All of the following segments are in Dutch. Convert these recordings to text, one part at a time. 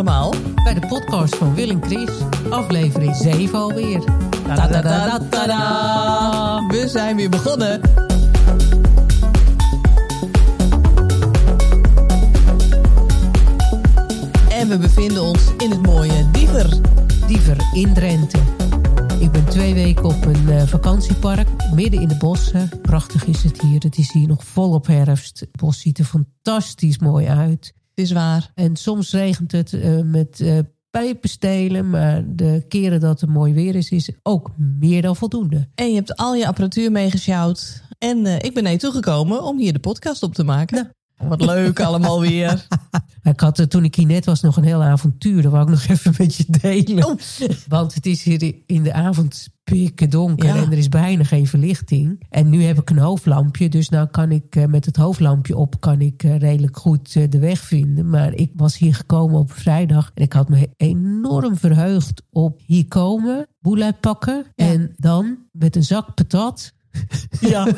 Nou, Wil en Chris, aflevering 7 alweer. Ta-da-da-da-da-da. We zijn weer begonnen. En we bevinden ons in het mooie Diever. Diever in Drenthe. Ik ben twee weken op een eh, vakantiepark, midden in de bossen. Prachtig is het hier. Het is hier nog volop herfst. Het bos ziet er fantastisch mooi uit. Het is waar. En soms regent het eh, met eh, pijpenstelen. Maar de keren dat het mooi weer is, is ook meer dan voldoende. En je hebt al je apparatuur meegesjouwd. En eh, ik ben naar je toegekomen om hier de podcast op te maken. Wat leuk allemaal weer. Maar ik had eh, toen ik hier net was nog een heel avontuur. Dat wou ik nog even met je delen. Oh. Want het is hier in de avond pikken donker. Ja. En er is bijna geen verlichting. En nu heb ik een hoofdlampje. Dus nou kan ik eh, met het hoofdlampje op kan ik eh, redelijk goed eh, de weg vinden. Maar ik was hier gekomen op vrijdag. En ik had me enorm verheugd op hier komen. Boel uitpakken. Ja. En dan met een zak patat Ja.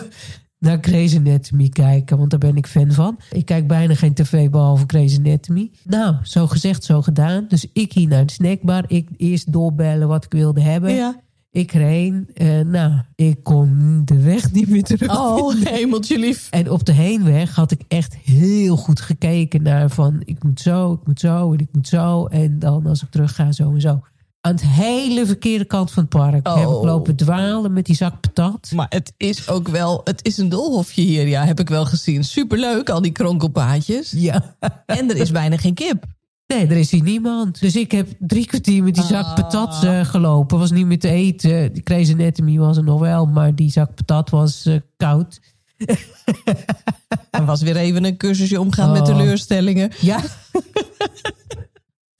naar Grey's Anatomy kijken, want daar ben ik fan van. Ik kijk bijna geen tv behalve Grey's Anatomy. Nou, zo gezegd, zo gedaan. Dus ik hier naar de snackbar. Ik eerst doorbellen wat ik wilde hebben. ja. Ik reed. eh, nou, ik kon de weg niet meer terug. Oh, hemeltje lief. En op de heenweg had ik echt heel goed gekeken naar van... ik moet zo, ik moet zo en ik moet zo. En dan als ik terug ga, zo en zo. Aan de hele verkeerde kant van het park. Oh. Heb ik lopen dwalen met die zak patat. Maar het is ook wel, het is een doolhofje hier, ja, heb ik wel gezien. Superleuk, al die kronkelpaadjes. Ja. En er is bijna geen kip. Nee, er is hier niemand. Dus ik heb drie kwartier met die zak Ah. patat eh, gelopen. Was niet meer te eten. Die Crazy Anatomy was er nog wel, maar die zak patat was eh, koud. Er was weer even een cursusje omgaan met Oh. teleurstellingen. Ja,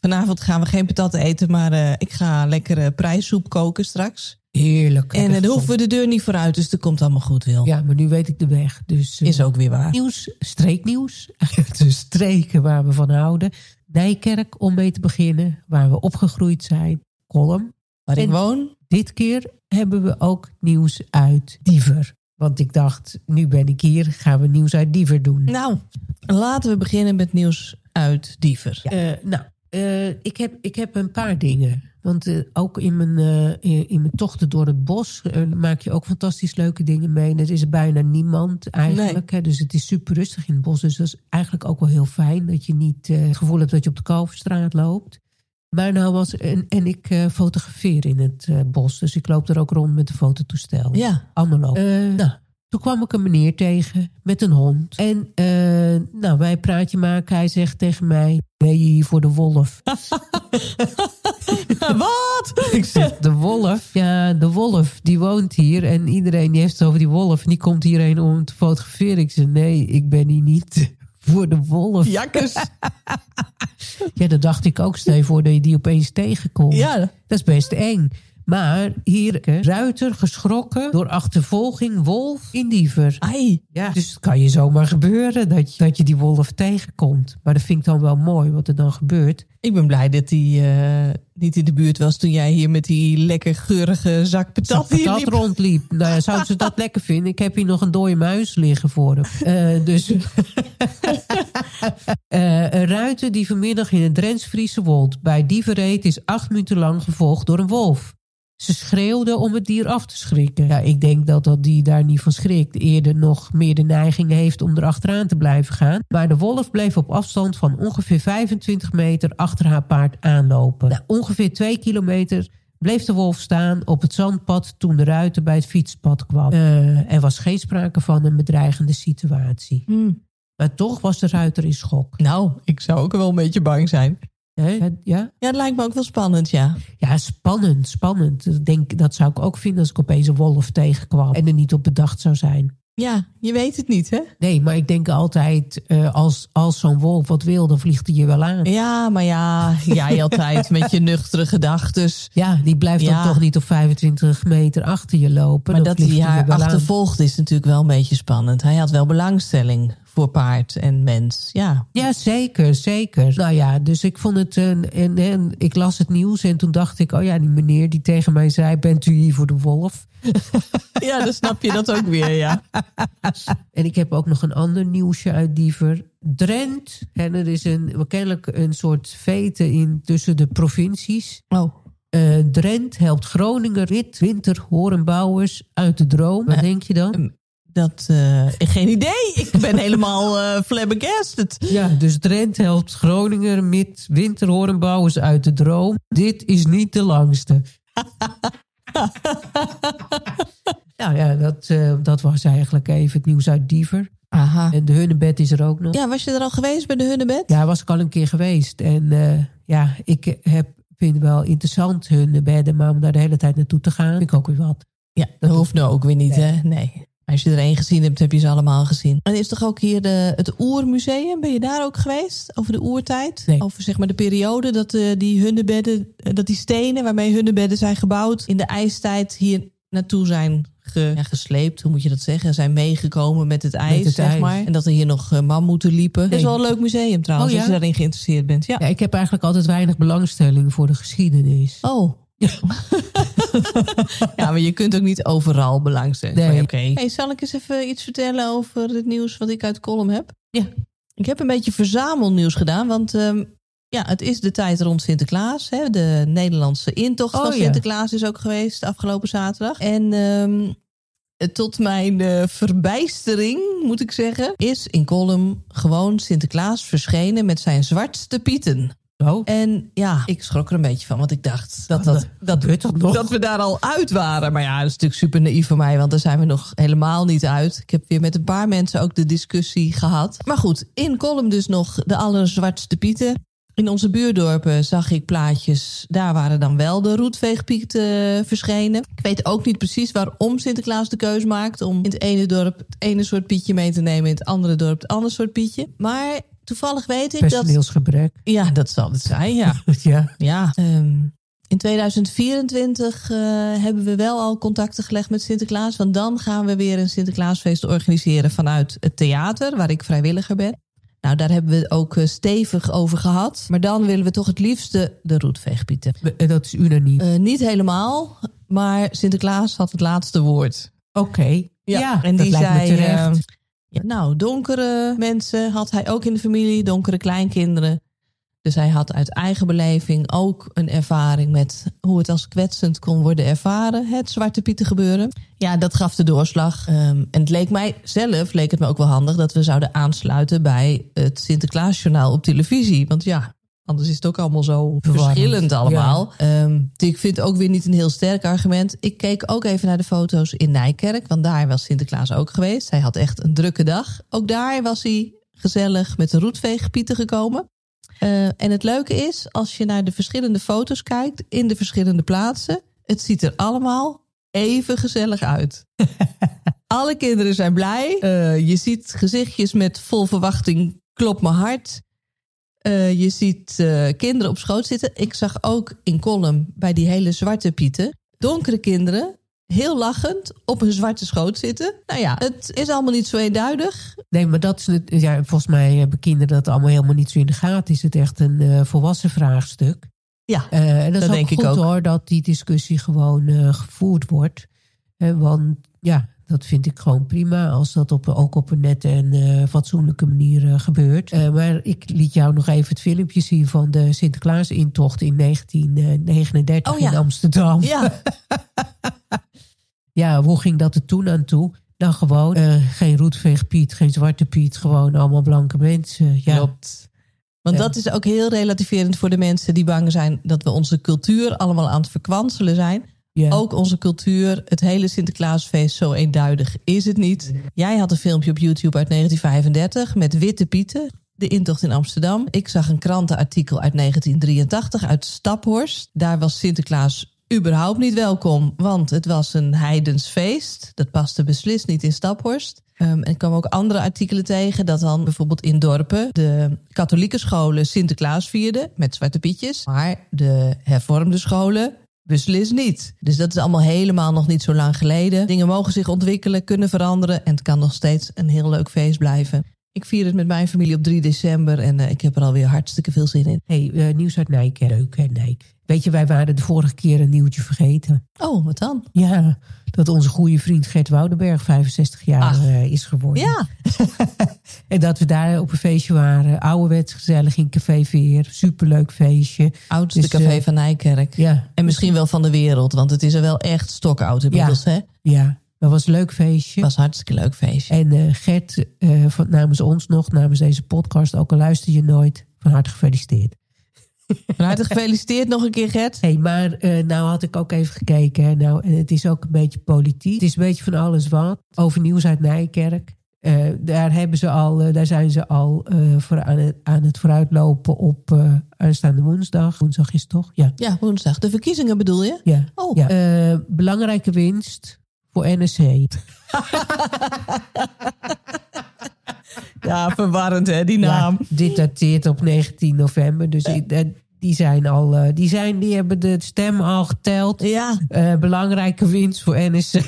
Vanavond gaan we geen patat eten, maar eh, ik ga lekkere prijssoep koken straks. heerlijk. En eh, Lekker daar hoeven we de deur niet vooruit, dus dat komt allemaal goed, Wil. Ja, maar nu weet ik de weg. Dus eh, Is ook weer waar. nieuws, streeknieuws. De streken waar we van houden. Nijkerk, om mee te beginnen, waar we opgegroeid zijn. Kolm. Waar ik En- woon, Dit keer hebben we ook nieuws uit Diever. Want ik dacht, nu ben ik hier, gaan we nieuws uit Diever doen. Nou, laten we beginnen met nieuws uit Diever. Eh, nou, eh, ik, heb, ik heb een paar dingen. Want eh, ook in mijn, eh, in- in mijn tochten door het bos eh, maak je ook fantastisch leuke dingen mee. En er is bijna niemand eigenlijk. Hè? Dus het is super rustig in het bos. Dus dat is eigenlijk ook wel heel fijn dat je niet eh, het gevoel hebt dat je op de Kalverstraat loopt. Maar nou was, en, en ik eh, fotografeer in het eh, bos. Dus ik loop er ook rond met een fototoestel. Ja. Anno lopen. nou, toen kwam ik een meneer tegen met een hond. En eh, nou, wij een praatje maken. Hij zegt tegen mij, ben je hier voor de wolf? Wat? ik zeg, de wolf? Ja, de wolf, die woont hier. En iedereen die heeft het over die wolf. En die komt hierheen om te fotograferen. Ik zeg, nee, ik ben hier niet voor de wolf. Jakkes. Ja, dat dacht ik ook. Stel je voor dat je die opeens tegenkomt. Ja. Dat is best eng. Maar hier, hè, ruiter, geschrokken door achtervolging, wolf in diever. Ai. Ja. Dus het kan je zomaar gebeuren dat je, dat je die wolf tegenkomt. Maar dat vind ik dan wel mooi wat er dan gebeurt. Ik ben blij dat hij eh, niet in de buurt was toen jij hier met die lekker geurige zak patat Dat hier dat liep. rondliep. Nou ja, zouden ze dat lekker vinden? Ik heb hier nog een dode muis liggen voor hem. Eh, dus. Eh, een ruiter die vanmiddag in het Drents-Friese wold bij dievenreed is acht minuten lang gevolgd door een wolf. Ze schreeuwde om het dier af te schrikken. Ja, ik denk dat dat dier daar niet van schrikt. Eerder nog meer de neiging heeft om erachteraan te blijven gaan. Maar de wolf bleef op afstand van ongeveer 25 meter achter haar paard aanlopen. Na ongeveer twee kilometer bleef de wolf staan op het zandpad toen de ruiter bij het fietspad kwam. Eh, er was geen sprake van een bedreigende situatie. Hmm. Maar toch was de ruiter in schok. Nou, ik zou ook wel een beetje bang zijn. Hè? Ja? Ja, het lijkt me ook wel spannend, ja. ja, spannend, spannend. Ik Denk, dat zou ik ook vinden als ik opeens een wolf tegenkwam en er niet op bedacht zou zijn. Ja, je weet het niet, hè? Nee, maar ik denk altijd, eh, als, als zo'n wolf wat wil, dan vliegt hij je wel aan. Ja, maar ja, jij altijd met je nuchtere gedachtes. Ja, die blijft Ja. dan toch niet op 25 meter achter je lopen. Maar dan dat hij vliegt je haar wel aan. achtervolgt is natuurlijk wel een beetje spannend. Hij had wel belangstelling voor paard en mens. Ja, Ja, zeker, zeker. Nou ja, dus ik vond het. Een, en, en ik las het nieuws en toen dacht ik, oh ja, die meneer die tegen mij zei: Bent u hier voor de wolf? ja dan snap je dat ook weer, ja. En ik heb ook nog een ander nieuwsje uit Diever. Drent. En er is een, kennelijk een soort vete in tussen de provincies. Oh, Eh, Drent helpt Groningen, Rit, Winter, Horenbouwers uit de droom. Wat denk je dan? dat... eh, geen idee. Ik ben helemaal eh flabbergasted. Ja, dus Drent helpt Groningen met winterhoornbouwers uit de droom. Dit is niet de langste. nou ja, dat, eh, dat was eigenlijk even het nieuws uit Diever. Aha. En de Hunnebed is er ook nog. Ja, Ja, was je er al geweest bij de Hunnebed? was ik al een keer geweest. En eh, ja, ik heb, vind wel interessant hun bedden, maar om daar de hele tijd naartoe te gaan, vind ik ook weer wat. Ja, dat hoeft nou ook weer niet, hè? Nee. Als je er één gezien hebt, heb je ze allemaal gezien. En is toch ook hier de, het Oermuseum? Ben je daar ook geweest? Over de oertijd? Nee. Over zeg maar de periode dat eh, die hunnebedden, eh, dat die stenen waarmee hunnebedden zijn gebouwd, in de ijstijd hier naartoe zijn ge- ja, gesleept. Hoe moet je dat zeggen? Zijn meegekomen met het ijs, het zeg ijs. maar. En dat er hier nog eh, mammoeten liepen. Dat is Nee. wel een leuk museum trouwens, Oh, ja? als je daarin geïnteresseerd bent. Ja. Ja, ik heb eigenlijk altijd weinig belangstelling voor de geschiedenis. Oh. ja, maar je kunt ook niet overal belangstelling Nee. voor hebben. Hey, zal ik eens even iets vertellen over het nieuws wat ik uit column heb? Ja. Ik heb een beetje verzamelnieuws gedaan, want ehm, ja, het is de tijd rond Sinterklaas. Hè? De Nederlandse intocht Oh, van ja. Sinterklaas is ook geweest afgelopen zaterdag. En ehm, eh, tot mijn eh, verbijstering, moet ik zeggen, is in column gewoon Sinterklaas verschenen met zijn zwartste pieten. Oh, En ja, ik schrok er een beetje van, want ik dacht dat, dat, dat, gebeurt dat nog? dat we daar al uit waren. Maar ja, dat is natuurlijk super naïef van mij, want daar zijn we nog helemaal niet uit. Ik heb weer met een paar mensen ook de discussie gehad. Maar goed, in column dus nog de allerzwartste pieten. In onze buurdorpen zag ik plaatjes, daar waren dan wel de roetveegpieten verschenen. Ik weet ook niet precies waarom Sinterklaas de keus maakt om in het ene dorp het ene soort pietje mee te nemen, in het andere dorp het andere soort pietje. Maar toevallig weet ik dat... Personeelsgebrek. Ja, dat zal het zijn, ja. Ja. Ja. ehm, in 2024 eh, hebben we wel al contacten gelegd met Sinterklaas. Want dan gaan we weer een Sinterklaasfeest organiseren vanuit het theater, waar ik vrijwilliger ben. Nou, daar hebben we het ook eh, stevig over gehad. Maar dan willen we toch het liefste de roetveegpieten. Eh, Dat is unaniem. Eh, niet helemaal, maar Sinterklaas had het laatste woord. Oké. Ja, Eh, en dat die lijkt zei, me terecht. eh, ja, nou, donkere mensen had hij ook in de familie, donkere kleinkinderen. Dus hij had uit eigen beleving ook een ervaring met hoe het als kwetsend kon worden ervaren, het zwarte pieten gebeuren. Ja, dat gaf de doorslag. Ehm, en het leek mij zelf, leek het me ook wel handig dat we zouden aansluiten bij het Sinterklaasjournaal op televisie. Want ja, anders is het ook allemaal zo Verwarrend. verschillend allemaal. Ehm, dus ik vind het ook weer niet een heel sterk argument. Ik keek ook even naar de foto's in Nijkerk, want daar was Sinterklaas ook geweest. Hij had echt een drukke dag. Ook daar was hij gezellig met de roetveegpieten gekomen. Eh, en het leuke is, als je naar de verschillende foto's kijkt in de verschillende plaatsen, het ziet er allemaal even gezellig uit. Alle kinderen zijn blij. Eh, je ziet gezichtjes met vol verwachting, klopt mijn hart. Eh, je ziet eh, kinderen op schoot zitten. Ik zag ook in column bij die hele zwarte pieten, donkere kinderen heel lachend op hun zwarte schoot zitten. Nou ja, het is allemaal niet zo eenduidig. Nee, maar dat is het, ja, volgens mij hebben kinderen dat allemaal helemaal niet zo in de gaten. Is het echt een eh, volwassen vraagstuk? Ja, Eh, en dat, is Dat ook denk ik goed ook. hoor, dat die discussie gewoon eh, gevoerd wordt. Eh, want ja, dat vind ik gewoon prima als dat op, ook op een nette en eh, fatsoenlijke manier eh, gebeurt. Eh, maar ik liet jou nog even het filmpje zien van de Sinterklaas-intocht in 1939 Oh ja. in Amsterdam. ja. Ja, hoe ging dat er toen aan toe? Nou, gewoon eh, geen roetveegpiet, geen zwarte piet, gewoon allemaal blanke mensen. Ja, Klopt. Want Ja. dat is ook heel relativerend voor de mensen die bang zijn dat we onze cultuur allemaal aan het verkwanselen zijn. ja. Ook onze cultuur, het hele Sinterklaasfeest, zo eenduidig is het niet. Jij had een filmpje op YouTube uit 1935 met Witte Pieten, de intocht in Amsterdam. Ik zag een krantenartikel uit 1983 uit Staphorst. Daar was Sinterklaas überhaupt niet welkom, want het was een heidens feest. Dat paste beslist niet in Staphorst. Ehm, en ik kwam ook andere artikelen tegen dat dan bijvoorbeeld in dorpen de katholieke scholen Sinterklaas vierden met zwarte pietjes, maar de hervormde scholen Beslist niet. Dus dat is allemaal helemaal nog niet zo lang geleden. Dingen mogen zich ontwikkelen, kunnen veranderen en het kan nog steeds een heel leuk feest blijven. Ik vier het met mijn familie op 3 december en eh, ik heb er alweer hartstikke veel zin in. hey, eh, nieuws uit Nijk. hè? Leuk, hè, Nijk. Weet je, wij waren de vorige keer een nieuwtje vergeten. Oh, wat dan? Ja, dat onze goede vriend Gert Woudenberg 65 jaar Ach. eh, is geworden. Ja, En dat we daar op een feestje waren. Ouderwets gezellig in Café Veer. Superleuk feestje. oudste Dus, café eh, van Nijkerk. Ja, En misschien wel van de wereld, want het is er wel echt stokoud inmiddels. Hè? Het ja. dat was een leuk feestje. was een hartstikke leuk feestje. En eh, Gert, eh, van, namens ons nog, namens deze podcast, ook al luister je nooit, van harte gefeliciteerd. Van harte gefeliciteerd nog een keer, Gert. Hé, maar eh, nou had ik ook even gekeken. Hè. Nou, en het is ook een beetje politiek. Het is een beetje van alles wat. Over nieuws uit Nijkerk. Eh, daar, hebben ze al, eh, daar zijn ze al eh, voor aan, het, aan het vooruitlopen op eh, aanstaande woensdag. Woensdag is het toch? Ja. Ja, woensdag. De verkiezingen bedoel je? ja. Oh, ja. Eh, belangrijke winst voor NSC. ja verwarrend hè, die Ja, dit dateert op 19 november. Dus ik- eh, die zijn al, eh, die, zijn, die hebben de stem al geteld. Ja, Eh, belangrijke winst voor NSC.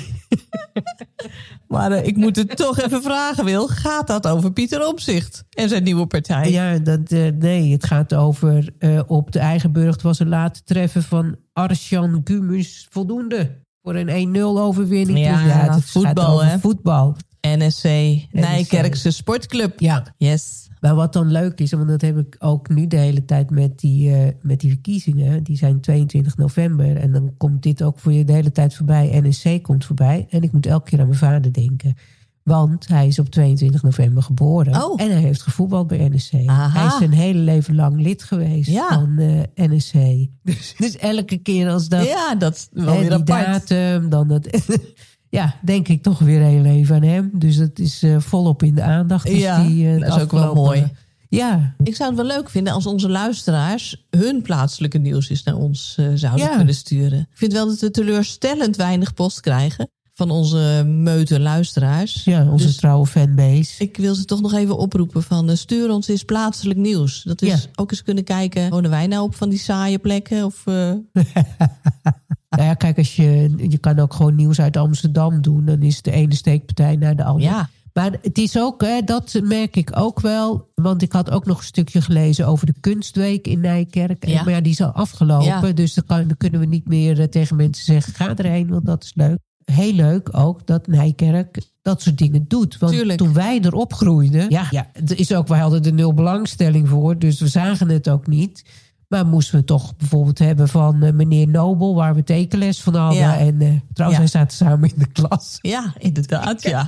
maar eh, ik moet het toch even vragen, Wil. Gaat dat over Pieter Omzicht en zijn nieuwe partij? Ja, dat, eh, nee, het gaat over eh, op de eigen burcht was een laat treffen van Arsjan Gumus voldoende. Voor een 1-0 overwinning. Dus Ja, het gaat voetbal, over hè? voetbal. NSC, Nijkerkse Sportclub. Ja, Yes. maar wat dan leuk is, want dat heb ik ook nu de hele tijd met die, eh, met die verkiezingen. Die zijn 22 november en dan komt dit ook voor je de hele tijd voorbij. NSC komt voorbij en ik moet elke keer aan mijn vader denken. Want hij is op 22 november geboren. Oh. En hij heeft gevoetbald bij NSC. Aha. Hij is zijn hele leven lang lid geweest Ja. van eh, NSC. Dus, dus elke keer als dat... Ja, dat is hè, wel weer die apart. datum, dan dat... ja, denk ik toch weer heel even aan hem. Dus dat is eh, volop in de aandacht. Dus Ja, die, eh, dat is ook wel afgelopen- mooi. Ja, Ik zou het wel leuk vinden als onze luisteraars hun plaatselijke nieuws eens naar ons eh, zouden Ja. kunnen sturen. Ik vind wel dat we teleurstellend weinig post krijgen van onze meute luisteraars. ja onze Dus- trouwe fanbase. Ik wil ze toch nog even oproepen van eh, stuur ons eens plaatselijk nieuws. Dat is Ja. ook eens kunnen kijken, wonen wij nou op van die saaie plekken? Of, eh, Nou ja, kijk, als je, je kan ook gewoon nieuws uit Amsterdam doen. Dan is de ene steekpartij naar de andere. ja. Maar het is ook, hè, dat merk ik ook wel. Want ik had ook nog een stukje gelezen over de kunstweek in Nijkerk. En- Ja. Maar ja, die is al afgelopen. Ja. Dus dan, kan, dan kunnen we niet meer eh, tegen mensen zeggen: ga erheen, want dat is leuk. Heel leuk ook dat Nijkerk dat soort dingen doet. Want Tuurlijk. toen wij erop groeiden, ja, ja, het is ook, wij hadden er nul belangstelling voor. Dus we zagen het ook niet. Maar moesten we toch bijvoorbeeld hebben van eh, meneer Nobel, waar we tekenles van hadden. Ja. En eh, trouwens, Ja. wij zaten samen in de klas. ja, inderdaad, ja.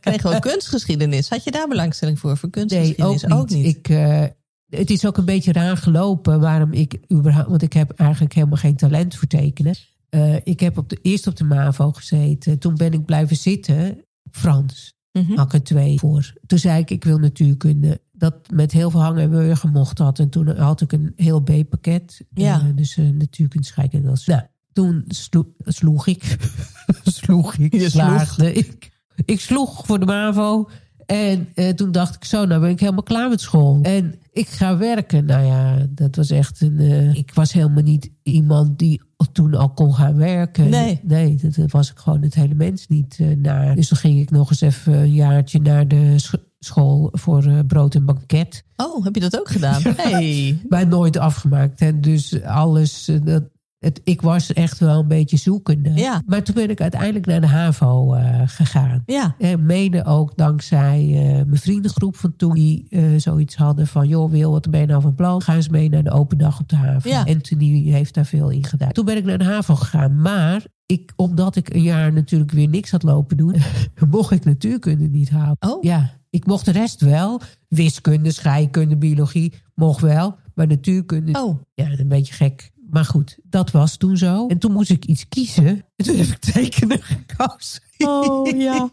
Kregen we kunstgeschiedenis. Had je daar belangstelling voor, voor kunstgeschiedenis? Ik, eh, het is ook een beetje raar gelopen waarom ik überhaupt... Want ik heb eigenlijk helemaal geen talent voor tekenen. Eh, ik heb op de, eerst op de MAVO gezeten. Toen ben ik blijven zitten op Frans. Mhm. Had ik er twee voor. Toen zei ik, ik wil natuurkunde. Dat met heel veel hangen en wurgen gemocht had. En toen had ik een heel B-pakket. Ja. Eh, dus eh, natuurkunde, scheikunde en Engels. Nou, toen slo- sloeg ik. sloeg ik, Je sloeg. slaagde ik. Ik sloeg voor de MAVO. En eh, toen dacht ik zo, nou ben ik helemaal klaar met school. En ik ga werken. Nou ja, dat was echt een... eh, ik was helemaal niet iemand die toen al kon gaan werken. Nee. Nee, dat dat was ik gewoon het hele mens niet eh, naar. Dus dan ging ik nog eens even een jaartje naar de sch- school voor eh, brood en banket. Oh, heb je dat ook gedaan? Hey. Maar nooit afgemaakt. Hè. Dus alles... eh, dat, het, ik was echt wel een beetje zoekende. Ja. Maar toen ben ik uiteindelijk naar de HAVO eh, gegaan. Ja, Eh, mede ook dankzij eh, mijn vriendengroep van toen. Die eh, zoiets hadden van, joh Wil, wat ben je nou van plan? Ga eens mee naar de open dag op de haven. Ja. Anthony heeft daar veel in gedaan. Toen ben ik naar de haven gegaan. Maar ik, omdat ik een jaar natuurlijk weer niks had lopen doen... mocht ik natuurkunde niet halen. Oh. Ja, ik mocht de rest wel. Wiskunde, scheikunde, biologie mocht wel. Maar natuurkunde, Oh, ja, een beetje gek. Maar goed, dat was toen zo. En toen moest ik iets kiezen. En toen heb ik tekenen gekozen. oh ja.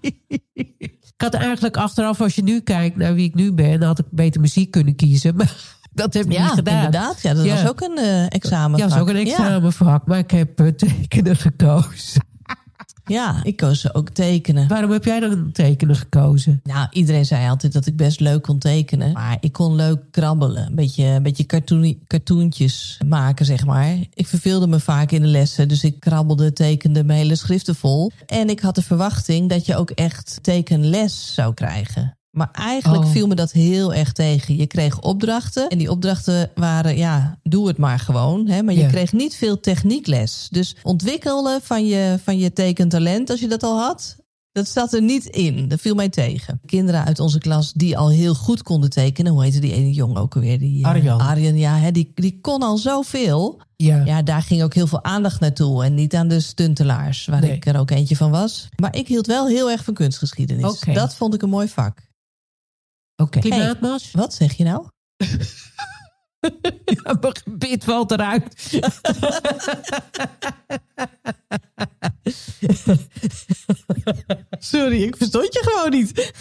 Ik had eigenlijk achteraf, als je nu kijkt naar wie ik nu ben, had ik beter muziek kunnen kiezen. Maar dat heb ik Ja, niet gedaan. inderdaad. Ja, dat Ja. was ook een eh examen. Ja, dat is ook een examenvak, maar ik heb eh, tekenen gekozen. Ja, ik koos ze ook tekenen. Waarom heb jij dan tekenen gekozen? Nou, iedereen zei altijd dat ik best leuk kon tekenen. Maar ik kon leuk krabbelen. Een beetje, een beetje cartoon, cartoontjes maken, zeg maar. Ik verveelde me vaak in de lessen. Dus ik krabbelde, tekende mijn hele schriften vol. En ik had de verwachting dat je ook echt tekenles zou krijgen. Maar eigenlijk Oh. viel me dat heel erg tegen. Je kreeg opdrachten en die opdrachten waren, ja, doe het maar gewoon. Hè? Maar je Ja. kreeg niet veel techniekles. Dus ontwikkelen van je, van je tekentalent, als je dat al had, dat zat er niet in. Dat viel mij tegen. Kinderen uit onze klas die al heel goed konden tekenen, hoe heette die ene jongen ook alweer? Die, eh, Arjan. Arjan, ja, hè, die, die kon al zoveel. Ja. Ja, daar ging ook heel veel aandacht naartoe. En niet aan de stuntelaars, waar Nee. ik er ook eentje van was. Maar ik hield wel heel erg van kunstgeschiedenis. Oké. Dat vond ik een mooi vak. Oké. Hey. Klimaatmars? Wat zeg je nou? Ja, mijn gebit valt eruit. Sorry, ik verstond je gewoon niet.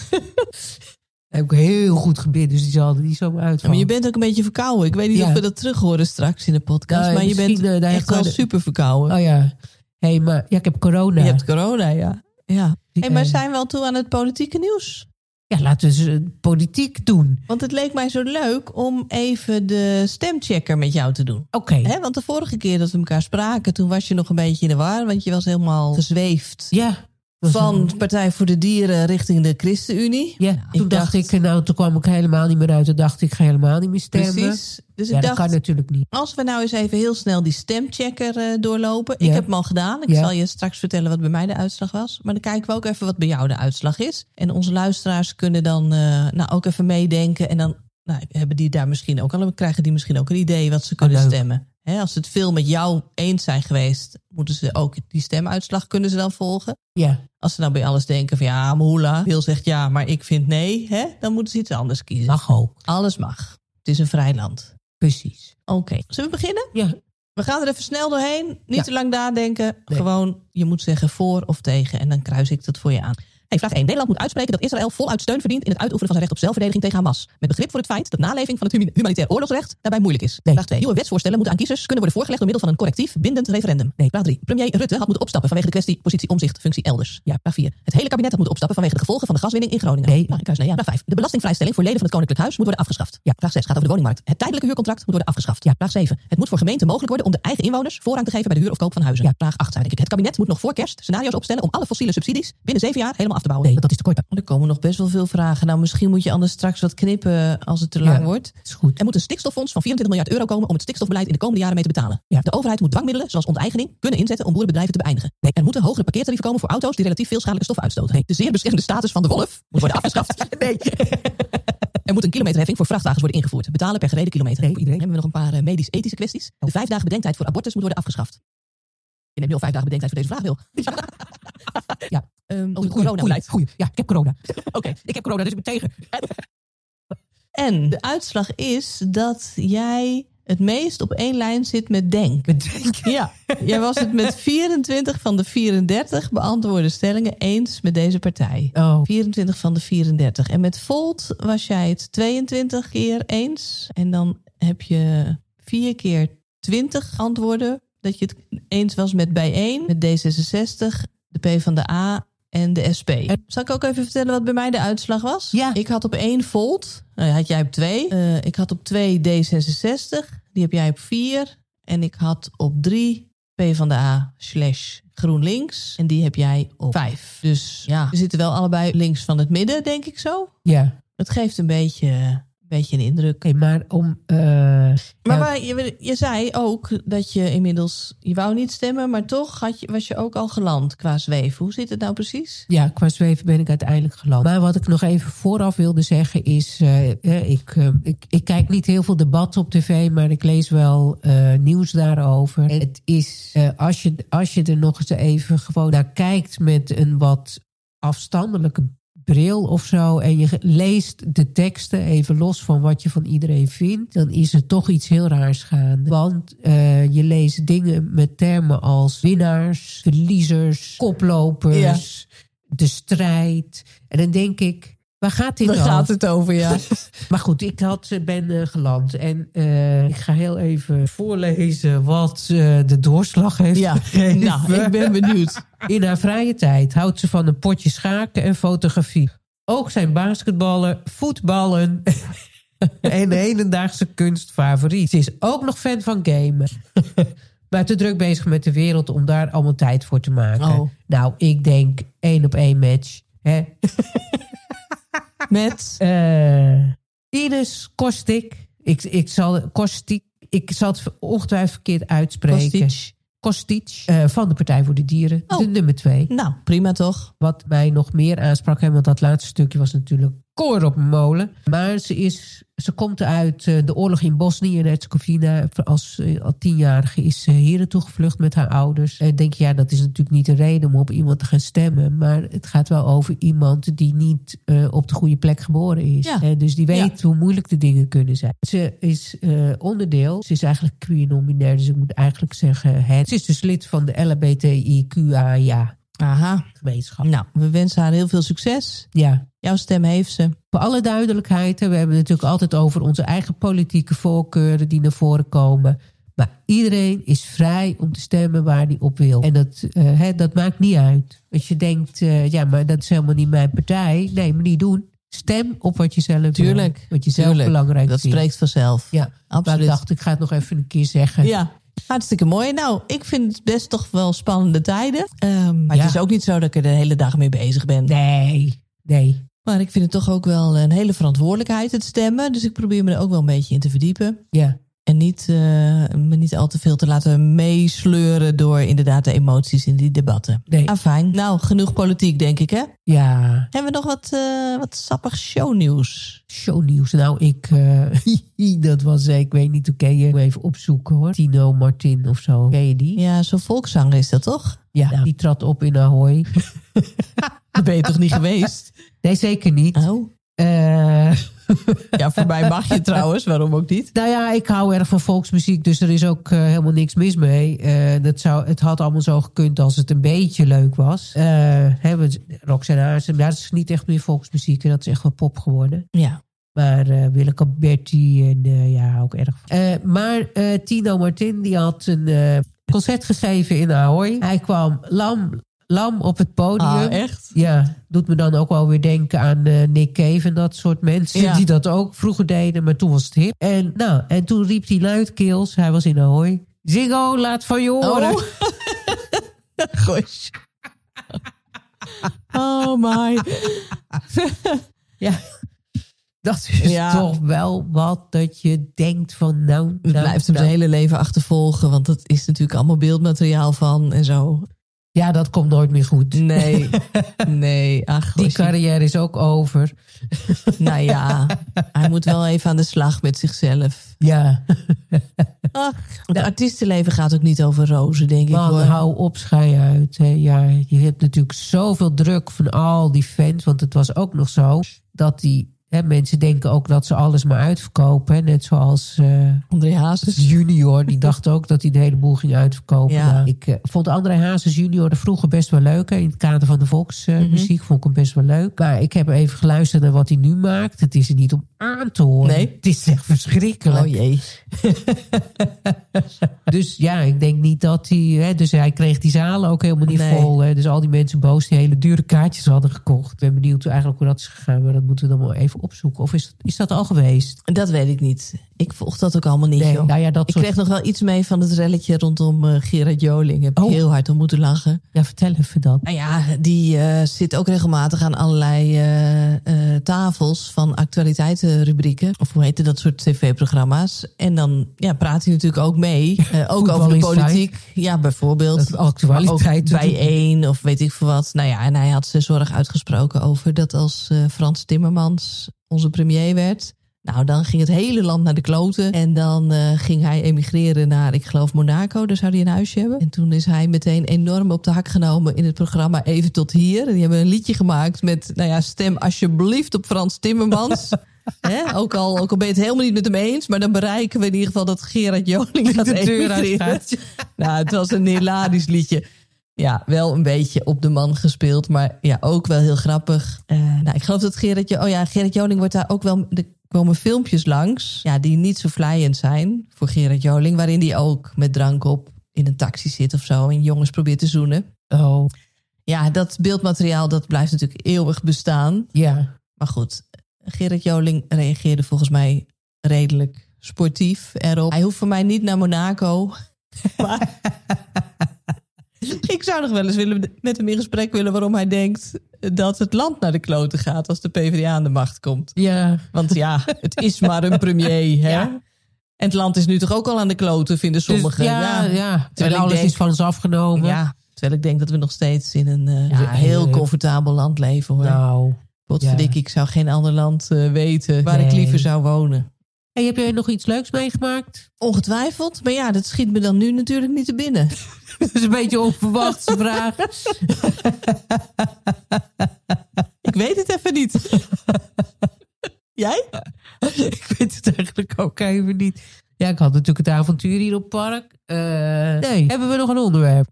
Heb ik heel goed gebit, dus die zal er niet zo maar uitvallen. je bent ook een beetje verkouden. Ik weet niet Ja. of we dat terug horen straks in de podcast. Nou, maar je bent misschien, eh, daar echt kan wel de- super verkouden. Oh ja. Hé, hey, maar ja, ik heb corona. Je hebt corona, ja. ja. Hey, maar Eh, zijn we al toe aan het politieke nieuws? Ja, laten we eens, eh, politiek doen. Want het leek mij zo leuk om even de stemchecker met jou te doen. Oké. Hè, want de vorige keer dat we elkaar spraken, toen was je nog een beetje in de war, want je was helemaal gezweefd. Ja. Was een- Van Partij voor de Dieren richting de ChristenUnie. Ja, Nou, toen dacht, ik, eh, nou, toen kwam ik helemaal niet meer uit. Toen dacht ik, ik ga helemaal niet meer stemmen. Precies. Dus Ja, ik dat kan dacht, natuurlijk niet. als we nou eens even heel snel die stemchecker eh, doorlopen. Ik Ja. heb hem al gedaan. Ik Ja. zal je straks vertellen wat bij mij de uitslag was. Maar dan kijken we ook even wat bij jou de uitslag is. En onze luisteraars kunnen dan eh, nou ook even meedenken. En dan nou, hebben die daar misschien ook al, krijgen die misschien ook een idee wat ze kunnen Ah, leuk. stemmen. Hè, als ze het veel met jou eens zijn geweest, moeten ze ook die stemuitslag kunnen ze dan volgen. Ja. Als ze nou bij alles denken van ja, maar hoela. Wil zegt ja, maar ik vind nee. Hè, dan moeten ze iets anders kiezen. Mag ook. Alles mag. Het is een vrij land. Precies. Oké, zullen we beginnen? Ja. We gaan er even snel doorheen. Niet Ja. te lang nadenken. Nee. Gewoon, je moet zeggen voor of tegen. En dan kruis ik dat voor je aan. Hey, vraag 1. Nederland moet uitspreken dat Israël voluit steun verdient... in het uitoefenen van zijn recht op zelfverdediging tegen Hamas. Met begrip voor het feit dat naleving van het humi- humanitair oorlogsrecht... daarbij moeilijk is. Nee. Vraag 2. Nieuwe wetsvoorstellen moeten aan kiezers kunnen worden voorgelegd... door middel van een correctief bindend referendum. Nee. Vraag 3. Premier Rutte had moeten opstappen vanwege de kwestie positie omzicht functie elders. Ja. Vraag 4. Het hele kabinet had moeten opstappen vanwege de gevolgen van de gaswinning in Groningen. Nee. Vraag, nee ja. Vraag 5. De belastingvrijstelling voor leden van het Koninklijk Huis moet worden afgeschaft. Ja. Vraag 6 gaat over de woningmarkt. Het tijdelijke huurcontract moet worden afgeschaft. Ja. Vraag 7. Het moet voor gemeenten mogelijk worden om de eigen inwoners voorrang te geven bij de huur of koop van huizen. Ja. Vraag 8 zei ik. Het kabinet moet nog voor kerst scenario's opstellen om alle fossiele subsidies binnen 7 jaar helemaal af te bouwen. Nee, dat is te kort. Er komen nog best wel veel vragen. Nou, misschien moet je anders straks wat knippen als het te lang wordt. Is goed. Er moet een stikstoffonds van 24 miljard euro komen om het stikstofbeleid in de komende jaren mee te betalen. De overheid moet dwangmiddelen zoals onteigening kunnen inzetten om boerenbedrijven te beëindigen. Er moeten hogere parkeertarieven komen voor auto's die relatief veel schadelijke stoffen uitstoten. De zeer beschermde status van de wolf moet worden afgeschaft. nee. Er moet een kilometerheffing voor vrachtwagens worden ingevoerd. Betalen per gereden kilometer. Nee, iedereen. Dan hebben we nog een paar eh, medisch-ethische kwesties. De vijf dagen bedenktijd voor abortus moet worden afgeschaft. Oh. Je neemt nu al vijf dagen bedenktijd voor deze vraag, Wil. ja. Ehm over het coronabeleid. Goeie. Ja, ik heb corona. Oké. Ik heb corona, dus ik ben tegen. En de uitslag is dat jij het meest op één lijn zit met Denk. Bedenk. Ja, jij was het met 24 van de 34 beantwoorde stellingen eens met deze partij. Oh. 24 van de 34. En met Volt was jij het 22 keer eens. En dan heb je vier keer 20 antwoorden dat je het eens was met bijeen, met D66, de P van de A en de SP. Zal ik ook even vertellen wat bij mij de uitslag was? Ja. Ik had op één Volt, nou, had jij op twee. Eh, ik had op twee D66, die heb jij op vier. En ik had op drie PvdA slash GroenLinks. En die heb jij op vijf. Dus ja, we zitten wel allebei links van het midden, denk ik zo. Ja. Oké, Het geeft een beetje, een beetje een indruk. maar om... eh, Maar Ja. waar- je, je zei ook dat je inmiddels... Je wou niet stemmen, maar toch had je, was je ook al geland qua zweef. Hoe zit het nou precies? Ja, qua zweven ben ik uiteindelijk geland. Maar wat ik nog even vooraf wilde zeggen is... eh, eh, ik, eh, ik, ik kijk niet heel veel debatten op tv, maar ik lees wel eh, nieuws daarover. En het is, eh, als, je, als je er nog eens even gewoon naar kijkt met een wat afstandelijke bril of zo... en je leest de teksten even los van wat je van iedereen vindt... dan is er toch iets heel raars gaande. Want eh, je leest dingen met termen als winnaars, verliezers, koplopers de strijd. En dan denk ik, waar gaat dit over? het over, ja. Maar goed, ik had, eh, ben eh, geland. En eh, ik ga heel even voorlezen wat eh, de doorslag heeft ja. gegeven. Nou, ik ben benieuwd. In haar vrije tijd houdt ze van een potje schaken en fotografie. Ook zijn basketballen, voetballen en de hedendaagse kunst favoriet. Ze is ook nog fan van gamen. maar te druk bezig met de wereld om daar allemaal tijd voor te maken. Oh. Nou, ik denk één op één match. Hè? Met. Eh Ines Kostik. Ik, ik, zal, Kostik. ik zal het ongetwijfeld verkeerd uitspreken. Kostic. Kostic, eh, van de Partij voor de Dieren. Oh. De nummer twee. Nou, prima toch? Wat mij nog meer aansprak, hè, want dat laatste stukje was natuurlijk koor op een molen. Maar ze, is, ze komt uit eh, de oorlog in Bosnië en Herzegovina. Als eh, al tienjarige is ze hier naartoe gevlucht met haar ouders. En denk je, ja, dat is natuurlijk niet een reden om op iemand te gaan stemmen. Maar het gaat wel over iemand die niet eh, op de goede plek geboren is. Ja. Hè, dus die weet hoe moeilijk de dingen kunnen zijn. Ze is eh, onderdeel, ze is eigenlijk queer-nominair, dus ik moet eigenlijk zeggen... Het. Ze is dus lid van de LHBTIQA-gemeenschap. Aha. Nou, we wensen haar heel veel succes. Ja, Jouw stem heeft ze. voor alle duidelijkheid, hè, we hebben het natuurlijk altijd over onze eigen politieke voorkeuren die naar voren komen. Maar iedereen is vrij om te stemmen waar hij op wil. En dat, eh, hè, dat maakt niet uit. Als je denkt, eh, ja, maar dat is helemaal niet mijn partij. Nee, maar niet doen. Stem op wat je zelf Tuurlijk, wil. Wat je zelf tuurlijk. belangrijk Dat vindt. spreekt vanzelf. Ja, maar ik absoluut. dacht, ik ga het nog even een keer zeggen. Ja, hartstikke mooi. Nou, ik vind het best toch wel spannende tijden. Ehm, maar Ja. het is ook niet zo dat ik er de hele dag mee bezig ben. Nee, nee. Maar ik vind het toch ook wel een hele verantwoordelijkheid, het stemmen. Dus ik probeer me er ook wel een beetje in te verdiepen. Ja, En niet, eh, me niet al te veel te laten meesleuren door inderdaad de emoties in die debatten. nee. Ah, fijn. Nou, genoeg politiek, denk ik, hè? Ja. Hebben we nog wat, eh, wat sappig shownieuws? Shownieuws. Nou, ik. eh, dat was. eh, Ik weet niet. Oké, je moet even opzoeken hoor. Tino Martin of zo. Ken je die? Ja, zo'n volkszanger is dat toch? Ja. Die trad op in Ahoy. Dat ben je toch niet geweest? Nee, zeker niet. Oh. Eh, Ja, voor mij mag je trouwens, waarom ook niet? nou ja, ik hou erg van volksmuziek. Dus er is ook eh, helemaal niks mis mee. Eh, dat zou, het had allemaal zo gekund als het een beetje leuk was. Eh hebben Roxanne Haarsen. Ja, dat is niet echt meer volksmuziek. en Dat is echt wel pop geworden. Ja. Maar eh Willeke Bertie en eh, ja, ook erg. van. Eh, maar eh, Tino Martin die had een eh, concert gegeven in Ahoy. Hij kwam lam, lam op het podium. Ah, echt? Ja, doet me dan ook wel weer denken aan eh, Nick Cave en dat soort mensen Ja. die dat ook vroeger deden, maar toen was het hip. En, nou, en toen riep hij luidkeels, hij was in Ahoy. Ziggo, laat van je horen. Oh. Gosh. Oh my. Ja. Dat is Ja. toch wel wat dat je denkt van nou... nou Het blijft hem nou. zijn hele leven achtervolgen, want dat is natuurlijk allemaal beeldmateriaal van en zo. Ja, dat komt nooit meer goed. Nee, nee, ach, Die gosh. carrière is ook over. nou ja, hij moet wel even aan de slag met zichzelf. Ja, Ach, het artiestenleven gaat ook niet over rozen, denk ik. man, Hoor. hou op, schei uit. hè. Ja, je hebt natuurlijk zoveel druk van al die fans. Want het was ook nog zo dat die hè, mensen denken ook dat ze alles maar uitverkopen. hè. Net zoals eh, André Hazes. Junior, die dacht ook dat hij de hele boel ging uitverkopen. Ja. Nou, ik eh, vond André Hazes Junior er vroeger best wel leuk. hè. In het kader van de Mhm. volksmuziek vond ik hem best wel leuk. Maar ik heb even geluisterd naar wat hij nu maakt. Het is er niet om aan te horen. Nee. Het is echt verschrikkelijk. Oh jee. Dus ja, ik denk niet dat hij. Hè, dus hij kreeg die zalen ook helemaal niet Nee. vol. Hè, dus al die mensen boos die hele dure kaartjes hadden gekocht. Ik ben benieuwd hoe- eigenlijk hoe dat is gegaan, maar dat moeten we dan wel even opzoeken. Of is, is dat al geweest? Dat weet ik niet. Ik volg dat ook allemaal niet, joh. Nou ja, dat Ik soort. kreeg nog wel iets mee van het relletje rondom eh, Gerard Joling. Heb ik Oh. heel hard om moeten lachen. Ja, vertel even dat. Nou ja, die eh, zit ook regelmatig aan allerlei eh, eh, tafels van actualiteitenrubrieken. Of hoe heette dat soort tv-programma's. En dan ja, praat hij natuurlijk ook mee. eh, ook over de Voetbal is politiek. Ja, bijvoorbeeld. Dat actualiteit. Maar ook bij één of weet ik veel wat. Nou ja, en hij had zijn zorg uitgesproken over dat als eh, Frans Timmermans onze premier werd. Nou, dan ging het hele land naar de kloten. En dan eh, ging hij emigreren naar, ik geloof, Monaco. Daar zou hij een huisje hebben. En toen is hij meteen enorm op de hak genomen in het programma Even tot hier. En die hebben een liedje gemaakt met, nou ja, stem alsjeblieft op Frans Timmermans. Hè? Ook, al, ook al ben je het helemaal niet met hem eens. Maar dan bereiken we in ieder geval dat Gerard Joling gaat de deur emigreren. uitgaat. Nou, het was een hilarisch liedje. Ja, wel een beetje op de man gespeeld, maar ja, ook wel heel grappig. Eh, nou, ik geloof dat Gerrit, Jo- oh ja, Gerrit Joling wordt daar ook wel. Er komen filmpjes langs, ja, die niet zo vlijend zijn voor Gerrit Joling, waarin die ook met drank op in een taxi zit of zo en jongens probeert te zoenen. Oh, Ja, dat beeldmateriaal dat blijft natuurlijk eeuwig bestaan. ja. Maar goed, Gerrit Joling reageerde volgens mij redelijk sportief erop. Hij hoeft voor mij niet naar Monaco. Maar ik Ik zou nog wel eens willen, met hem in gesprek willen waarom hij denkt dat het land naar de kloten gaat als de PvdA aan de macht komt. Ja, Want ja, het is maar een premier. Hè? Ja. En het land is nu toch ook al aan de kloten, vinden dus sommigen. ja, ja, Terwijl Terwijl ik alles denk- is van ons afgenomen. Ja, terwijl ik denk dat we nog steeds in een eh, Ja, heel heerlijk. comfortabel land leven hoor. Nou. Potverdikkie, ik zou geen ander land eh, weten waar ik Nee. liever zou wonen. Hey, heb jij nog iets leuks meegemaakt? Ongetwijfeld, maar ja, dat schiet me dan nu natuurlijk niet te binnen. Dat is een beetje een onverwachte vraag. Ik weet het even niet. Jij? ik weet het eigenlijk ook even niet. Ja, ik had natuurlijk het avontuur hier op het park. Eh, Nee. Hebben we nog een onderwerp?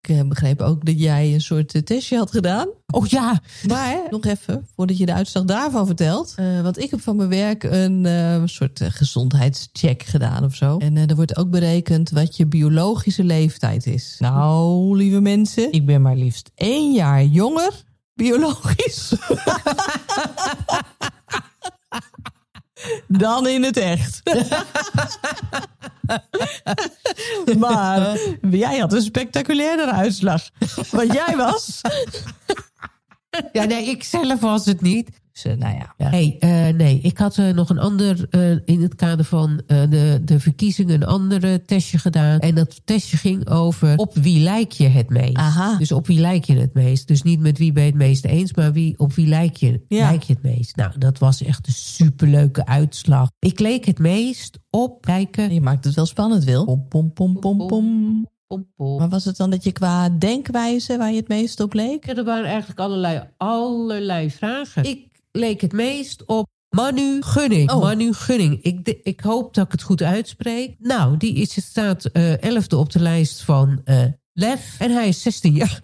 Ik eh, begreep ook dat jij een soort eh, testje had gedaan. Oh ja, Maar nog even, voordat je de uitslag daarvan vertelt. eh, want ik heb van mijn werk een eh, soort eh, gezondheidscheck gedaan of zo. En eh, er wordt ook berekend wat je biologische leeftijd is. Nou, lieve mensen. Ik ben maar liefst één jaar jonger biologisch. Dan in het echt. maar jij had een spectaculairder uitslag. Want jij was. ja nee, ik zelf was het niet. Dus, eh, nou ja. Hey, eh, nee, ik had eh, nog een ander, eh, in het kader van eh, de, de verkiezingen, een ander testje gedaan. En dat testje ging over op wie lijk je het meest. Aha. Dus op wie lijk je het meest? Dus niet met wie ben je het meest eens, maar wie, op wie lijk je, Ja. lijk je het meest? Nou, dat was echt een superleuke uitslag. Ik leek het meest op lijken. Je maakt het wel spannend, Wil. Pom, pom, pom, pom, pom. Pom, pom. Maar was het dan dat je qua denkwijze waar je het meest op leek? Er waren eigenlijk allerlei, allerlei vragen. Ik leek het meest op Manu Gunning. Oh. Manu Gunning. Ik, de- ik hoop dat ik het goed uitspreek. Nou, die is, staat eh elfde op de lijst van eh, Lef. En hij is 16 jaar.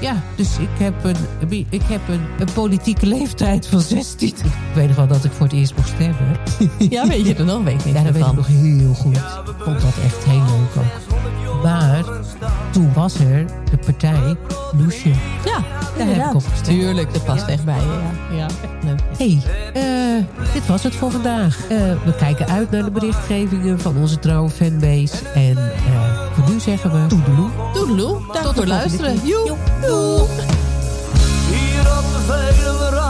Ja, dus ik heb, een, ik heb een, een politieke leeftijd van 16. Ik weet nog wel dat ik voor het eerst mocht stemmen. Ja, weet je er nog een week niks Ja, dat weet ik van. nog heel goed. Ik vond dat echt heel leuk ook. Maar toen was er de partij Loesje. Ja, daar heb ik op gestemd. Tuurlijk, dat past echt bij je. Ja. ja. Leuk. Hey, eh, dit was het voor vandaag. Eh, we kijken uit naar de berichtgevingen van onze trouwe fanbase. En eh, voor nu zeggen we... Toedeloe. Doedeloe, dank de voor het volgende luisteren. keer. Joep. Joep. Doeg. Hier op de Veluwe